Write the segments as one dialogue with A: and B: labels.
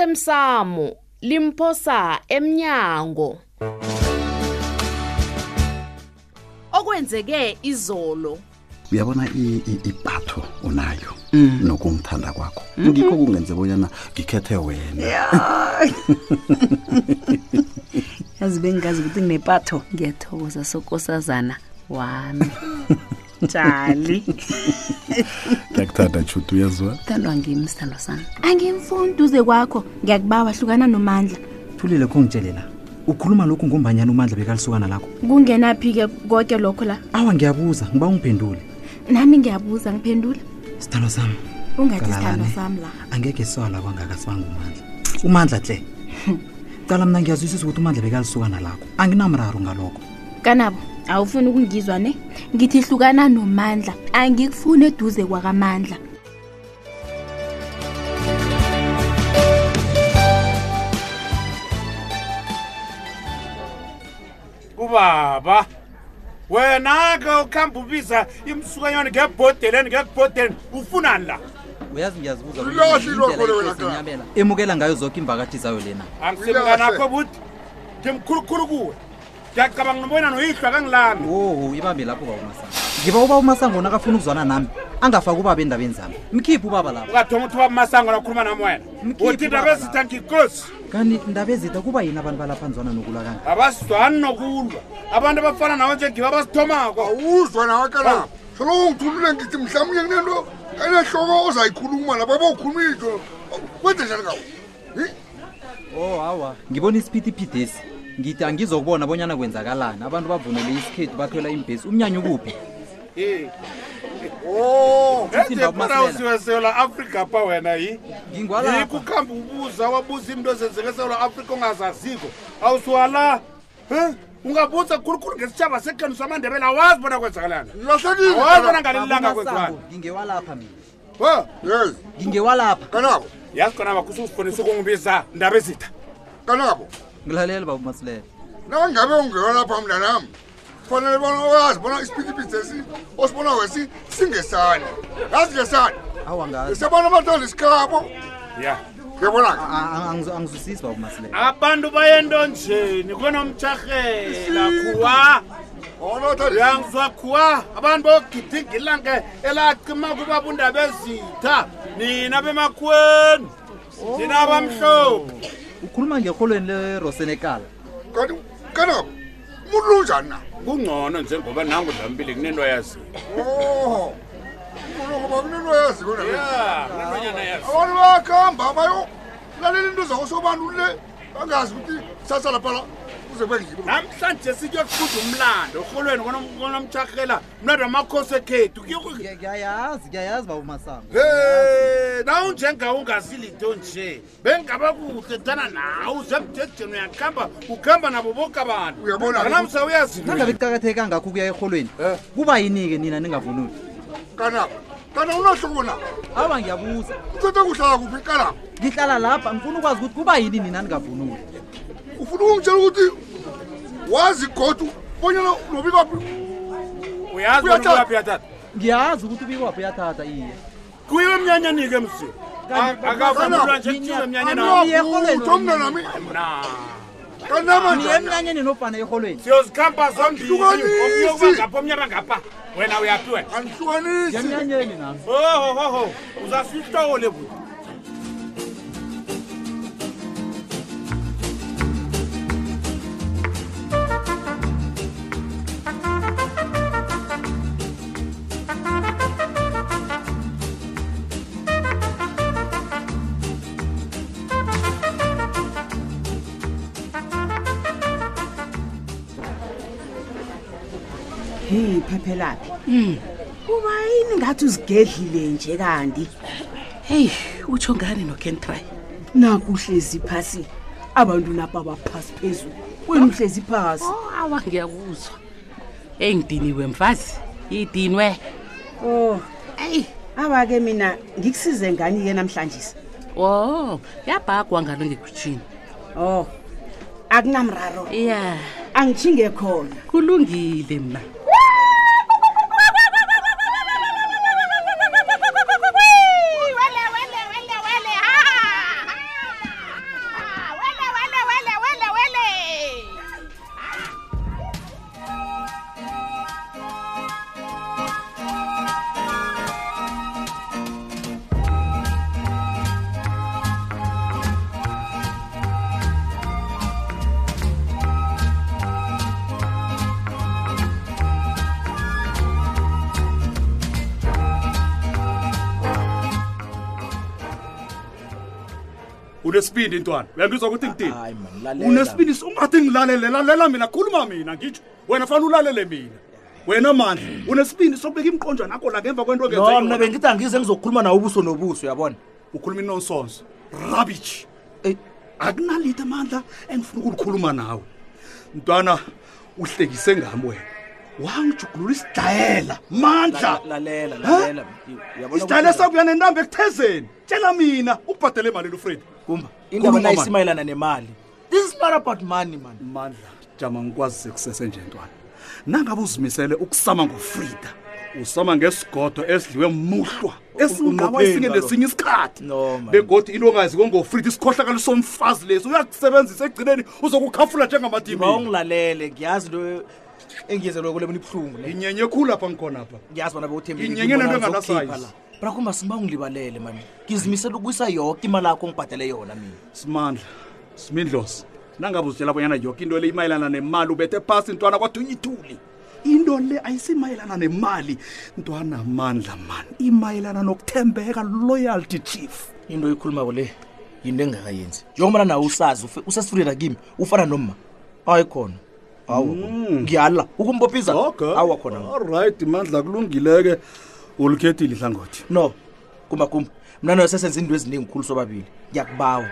A: osemsamo limphosa emnyango okwenzeke izolo
B: uyabona i- i- ipatho unayo nokungithanda kwakho ngikho kungenze bonyana ngikhethe wena
C: yazi bengazi ukuthi nginepatho
D: ngiyathokoza sokosazana wami
C: jali
B: ngiyakuthanda chutu uyazwa
D: thandwa ngimi sithandwa sami
E: angimfuni duze kwakho ngiyakubawa hlukana nomandla
F: thulile khongitshele la ukhuluma lokhu ngombanyana umandla bekalisukana lakho
E: kungenaphi-ke konke lokho la
F: awa ngiyabuza ngiba ungiphendule
E: nami ngiyabuza ngiphendula
F: sithandwa sami
E: ungathi
F: Galalane.
E: sithandwa sami la
F: angekhe swala kwangaka sibangumandla umandla tle cala mna ngiyazwisisa ukuthi umandla bekalisukana lakho anginamraro ngalokho
E: kanabo awufuni ukungizwa ne ngithi hlukana nomandla angikufuni eduze kwakamandla
G: ubaba wena-ke ukuhamba ubiza imsukanyane ngebhodeleni ngebhodeleni ufunani la
H: uyazi ngiyazibuza
I: Lilahle
H: bonyana yini indlela
I: ilokho wena,
H: ikosi enyabela emukela ngayo zonke imvakathi zayo lena
G: angisemnganakho buthi ngimkhulukhulu kuwe ngiyacabanga noboyena noyihlwa kangilami
H: wowo ibambe lapho baba umasango ngiba uba umasango nakafuna ukuzwana nami angafaki ubaba endabeni zami mkhiphi ubaba lapho
G: ungathoma ukuthi ubamasango nakhuluma nami wena
H: Mkhiphi
G: uthi
H: ubaba la.
G: ndabezitha ngikosi
H: kanti ndaba ezida kuba yini abantu balapha nzwana nokulwa kanga
G: abasizwani nokulwa abantu abafana nawe njengiba abasithomako
I: awuzwa nawe kalapha soloko ngithulule ngithi mhlawumnye kunento enehloko ozayikhuluma lapha bawukhuluma into wenze njani kawo
H: o hawa Oh, ngibona isiphithiphithesi ngithi angizokubona bonyana kwenzakalani abantu bavunele isikhethu bakhwela imbhesi umnyanya ukuphi Uthi Baba Masela.
G: eseula afrika pa wena yi yikho
H: ngingwalapha
G: ukuhamba ubuza wabuza into ezenzeka eseula afrika ongazaziko awusiwala um ungabuza khulukhulu ngesitshaba sekhenu samandebela awazi bona kwenzakalana awazi bona
I: lahlekile
G: ngaleli langa kwenziwani
H: ngingewalapha mina
I: yes
H: ngingewalapha
I: kanabo
G: yazi kona bakhusa usifonisa ukungibiza ndaba ezitha
I: kanabo
H: ngilalela baba umasilela
I: nangabe ungena lapha mntanami kufanele bona oyazi bona isiphithiphisesi osibona wesi singesani yazi ngesani
H: awa ngazi
I: ngisebona abathanda isikabo
G: ya
I: ngiyabona-ke
H: A- a- angizu- angizwisisi baba umasilela
G: abantu bayentonjeni kwenomtshahela khuwa
I: onathanda
G: uyangizwa khuwa abantu bogidinga ilanga elacima kuba bundaba ezitha nina bemakhweni nina bamhlophe
H: ukhuluma ngerholweni lerosenekala
I: kanti kanabo umuntu lunjani na
G: kungcono njengoba nangu dlambile kunento yaziyo
I: Oh, ngoba kunento yazi kona
G: kunentonyana yaziyo
I: abantu bayakuhamba bayo lalela into zakosobantu le bangazi ukuthi sasa laphana kuze kube ngibo
G: namhlanje sikuyokufuza umlando erholweni konomtshahela mnandi wamakhosi ekhethu Kuyo-
H: ngiyayazi ngiyayazi baba umasango
G: Hey, nawu njengawo ungazi linto nje bengaba kuhle tana nawe uzemjejeni uyakuhamba ukuhamba nabo boke abantu
I: Uyabona ke-
G: Nalamhla uyazi
H: nangabe kuqakatheke kangakho ukuya erholweni kuba yini-ke nina ningavunuli
I: kanabo kana unahloko na
H: awa ngiyabuza
I: uthethe kuhlala kuphi kanabo
H: ngihlala lapha ngifuna ukwazi ukuthi kuba yini nina ningavunuli
I: ufuna ukungitshela ukuthi wazi godu bonyana nobikaphi
G: uyazi
I: Uyathatha.
G: uyaphi yatata
H: ngiyazi ukuthi ubikwapho uyathatha iye
G: kuyiwe emnyanyani-ke emsini
H: Kanti-
G: akavulwa nje
H: Mina-
G: kuthiwe emnyanyeni
H: Mina-
G: awa.
H: Niye erholweni
I: utho mntanami
G: Na,
H: niye
I: kanamanje
H: emnyanyeni nofana erholweni
G: siyozikhamba zombili
I: Ahlukanisi.
G: omunye uba ngapha omnye abangapha wena uyaphi wena
I: angihlukanisi
H: ngemnyanyeni nami
G: ohohoho uzasihlole buti
C: heyi phephelaphi
D: Hmm.
C: kuba yini ngathi uzigedlile nje kanti
D: heyi utsho ngani nokentry
C: nakuhlezi phasi abantu napha baphasi phezulu wena uhlezi phasi
D: Oh, awa ngiyakuzwa eyi ngidiniwe mfazi idinwe
C: o
D: eyi
C: Oh. aba-ke mina ngikusize ngani-ke namhlanje
D: o Oh, yabhagwa ngalo ngekhutshini
C: o Oh, akunamraro
D: ya
C: angitshinge khona
D: kulungile mna
E: wele wele wele wele ha
G: unesibindi intwana uyangizwa ukuthi ngidini
H: Hayi man, lalela.
G: unesibindi ungathi ngilalele lalela mina khuluma mina ngitsho wena fanele ulalele mina wena mandla unesibindi sokubeka imqonjwana akho la ngemva kwento ongenze
H: no
G: yona.
H: mna bengithi angize ngizokhuluma nawo ubuso nobuso uyabona
G: ukhuluma inonsonso rubbish
H: Eh.
G: akunalito amandla engifuna ukulikhuluma nawe mntwana uhlekise ngami wena wangijugulula isidayela mandla
H: La- lalela
G: Ha?
H: lalela Uyabona
G: isidayela
H: ukuthi-
G: sakuya nentambo ekuthezeni tshela mina ukubhadele imali lufred
H: kumba indaba
G: Khuluma, man.
H: nayisimayelana nemali this is not about money man
G: mandla jama ngikwazise kusese nje ntwana nangabe uzimisele ukusama ngofrida usama ngesigodo esidliwe muhlwa esingawa
H: unqopheni
G: esinye
H: kaloku.
G: nesinye isikhathi
H: No, man.
G: begodi into ongaziwe ngofrida isikhohlakalo somfazi lesi uyakusebenzisa ekugcineni uzokukhafula
H: Ngibawa
G: njengamadimini
H: ungilalele ngiyazi into engiyenzelwe kule mina ibuhlungu le
G: inyenye ekhulu apha ngikhonapha
H: ngiyazi bona
G: Inyenye nento enganasayizi.
H: brakumba simba ungilibalele mani ngizimisele ukuyisa yoke imali akho ongibhadele yona mina
G: simandla simindlosi nangabe uzitshela abonyana yoke into le imayelana nemali ubethe phasi ntwana kwathi uyithuli into le ayisimayelana nemali ntwana mandla mani imayelana nokuthembeka loyalty chief
H: into oyikhulumako le yinto engakayenzi njengobana nawe usazi ufe- usesifurira kimi ufana nomma hayi khona awa ngiyala ukumbophiza awa khona man.
G: allright mandla kulungile-ke ulikhethile ihlangothi
H: no kumba kumba mna nayo sesenza into eziningi khulu sobabili ngiyakubawa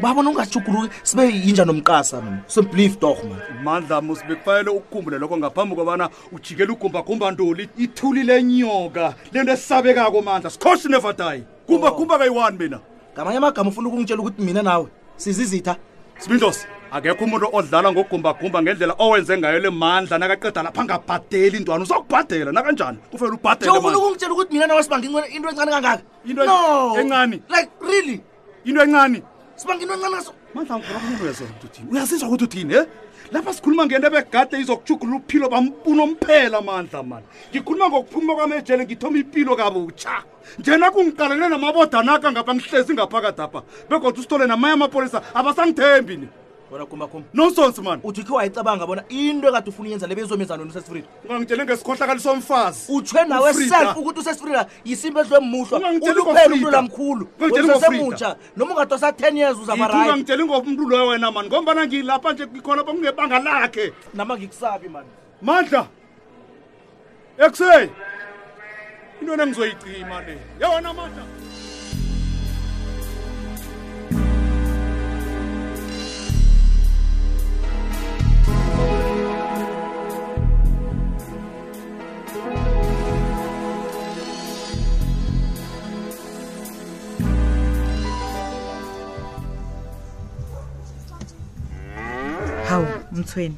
H: babona ungajuguluki sibe yinja nomqasa mina sebelieve dog man
G: mandla musibekufanele ukukhumbule lokho ngaphambi kobana ujikele ugumbagumba ntoli ithuli lenyoka lento esisabekako mandla sikhoshi never die gumbagumba kayi-one mina
H: ngamanye amagama ufuna ukungitshela ukuthi mina nawe sizizitha
G: sibindlosi akekho umuntu odlala ngogumbagumba ngendlela owenze ngayo le mandla nakaqeda lapha angabhadeli intwana uzokubhadela nakanjani kufanele ubhadele
H: ufuna
G: mandla.
H: ukungitshela ukuthi mina nawe sibangingwe into encane kangaka
G: Into
H: no
G: encane?
H: like really
G: into encane
H: sibangingwe encane kaso
G: mandla ngikulakululeza ukuthi uthini uyazizwa ukuthi uthini he lapha sikhuluma ngento ebegade izokujugulula uphilo bampunomphela mandla mani ngikhuluma ngokuphuma kwami ejele ngithoma impilo kabutsha njena kungiqalele namabodanaka ngapha ngihlezi ngaphakathi apha begodwa usithole namanye amapolisa abasangithembi ni
H: bona kumakhumba
G: nonsonsi mani
H: uthi ukhe wayicabanga bona into ekade ufuna uyenza le bezomenza nona usesifrida
G: ungangitshele ngesikhohlakali somfazi
H: utshwe nawe
G: Ufrida.
H: self ukuthi usesifrida yisimba edlwe muhlwa
G: Ungangitsheli
H: uluphele
G: ngofrida.
H: umlula mkhulu
G: Ungangitsheli
H: usesemutsha noma ungadosa 10 years uzabarayi
G: ngitsheli ngomntu loyo wena mani ngombana ngilapha nje khona bakungebanga lakhe
H: nama ngikusabi mani
G: mandla ekuseni into nengizoyicima le yewona mandla
C: hawu mthweni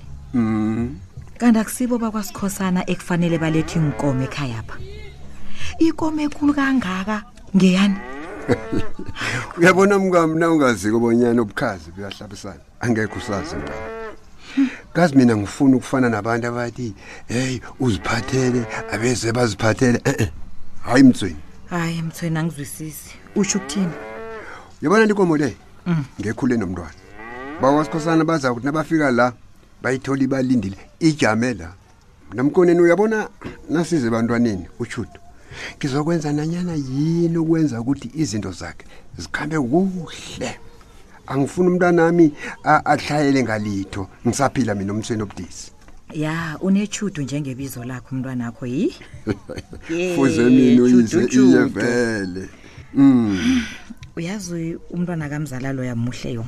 C: kanti akusibo bakwasikhosana ekufanele balethe inkomo ekhaya pha ikomo ekulu kangaka ngeyani
I: uyabona mkami na ungaziko bonyana ubukhazi buyahlabisana angekho usazi mkami kazi mina ngifuna ukufana nabantu abathi heyi uziphathele abeze baziphathele e-e hhayi mtsweni
C: hayi mthweni angizwisisi usho ukuthini
I: uyabona likomo le ngekhule nomntwana bakwasikhosana baza kuthi nabafika la bayithole ibalindile ijame la namkoneni uyabona nasize ebantwaneni utshuto ngizokwenza nanyana yini ukwenza ukuthi izinto zakhe zikhambe kuhle angifuni umntwana ami a- ahlayele ngalitho ngisaphila mina umthweni obudisi
C: ya unechudu njengebizo lakho umntwana akho yi Eh,
I: fuze mina uyize iye
C: Chudu-chudu.
I: vele um
C: uyazi umntwana kamzala loya muhle yo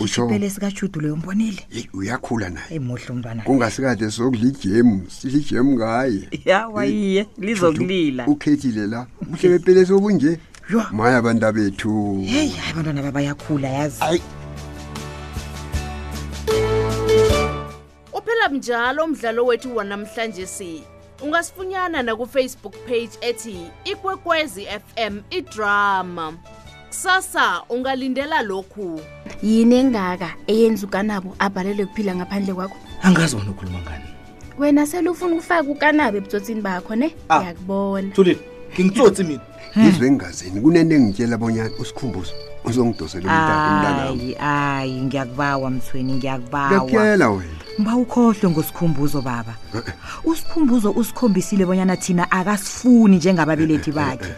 I: Utsho?
C: isipele sikachudu loyo mbonile
I: uyakhula naye
C: emuhle umntwana
I: kungasikade sokudla ijemu sidla ijemu ngaye
C: yawa iye lizokulila
I: ukhethile la uhle bepelesi obunje maye abantu abethu
C: heyi hayi abantwana babayakhula yazi
A: uphela mnjalo umdlalo wethu wanamhlanje si ungasifunyana nakufacebook page ethi ikwekwezi fm idrama kusasa ungalindela lokhu
E: yini engaka eyenza ukanabo abhalelwe kuphila ngaphandle kwakho
H: angazi wona ukhuluma ngani
E: wena selufuna ukufaka ukanabo ebutsotsini bakho ne
I: Ah.
E: ngiyakubona
H: thulile ngingitsotsi mina
I: izwe engazini kunento engitshela bonyana usikhumbuzo uzongidosela umntana umntanami
C: hayi hayi ngiyakubawa mthweni ngiyakubawa
I: ngiyakuyela wena
C: mba ukhohlwe ngosikhumbuzo baba usikhumbuzo usikhombisile bonyana thina akasifuni njengababelethi bakhe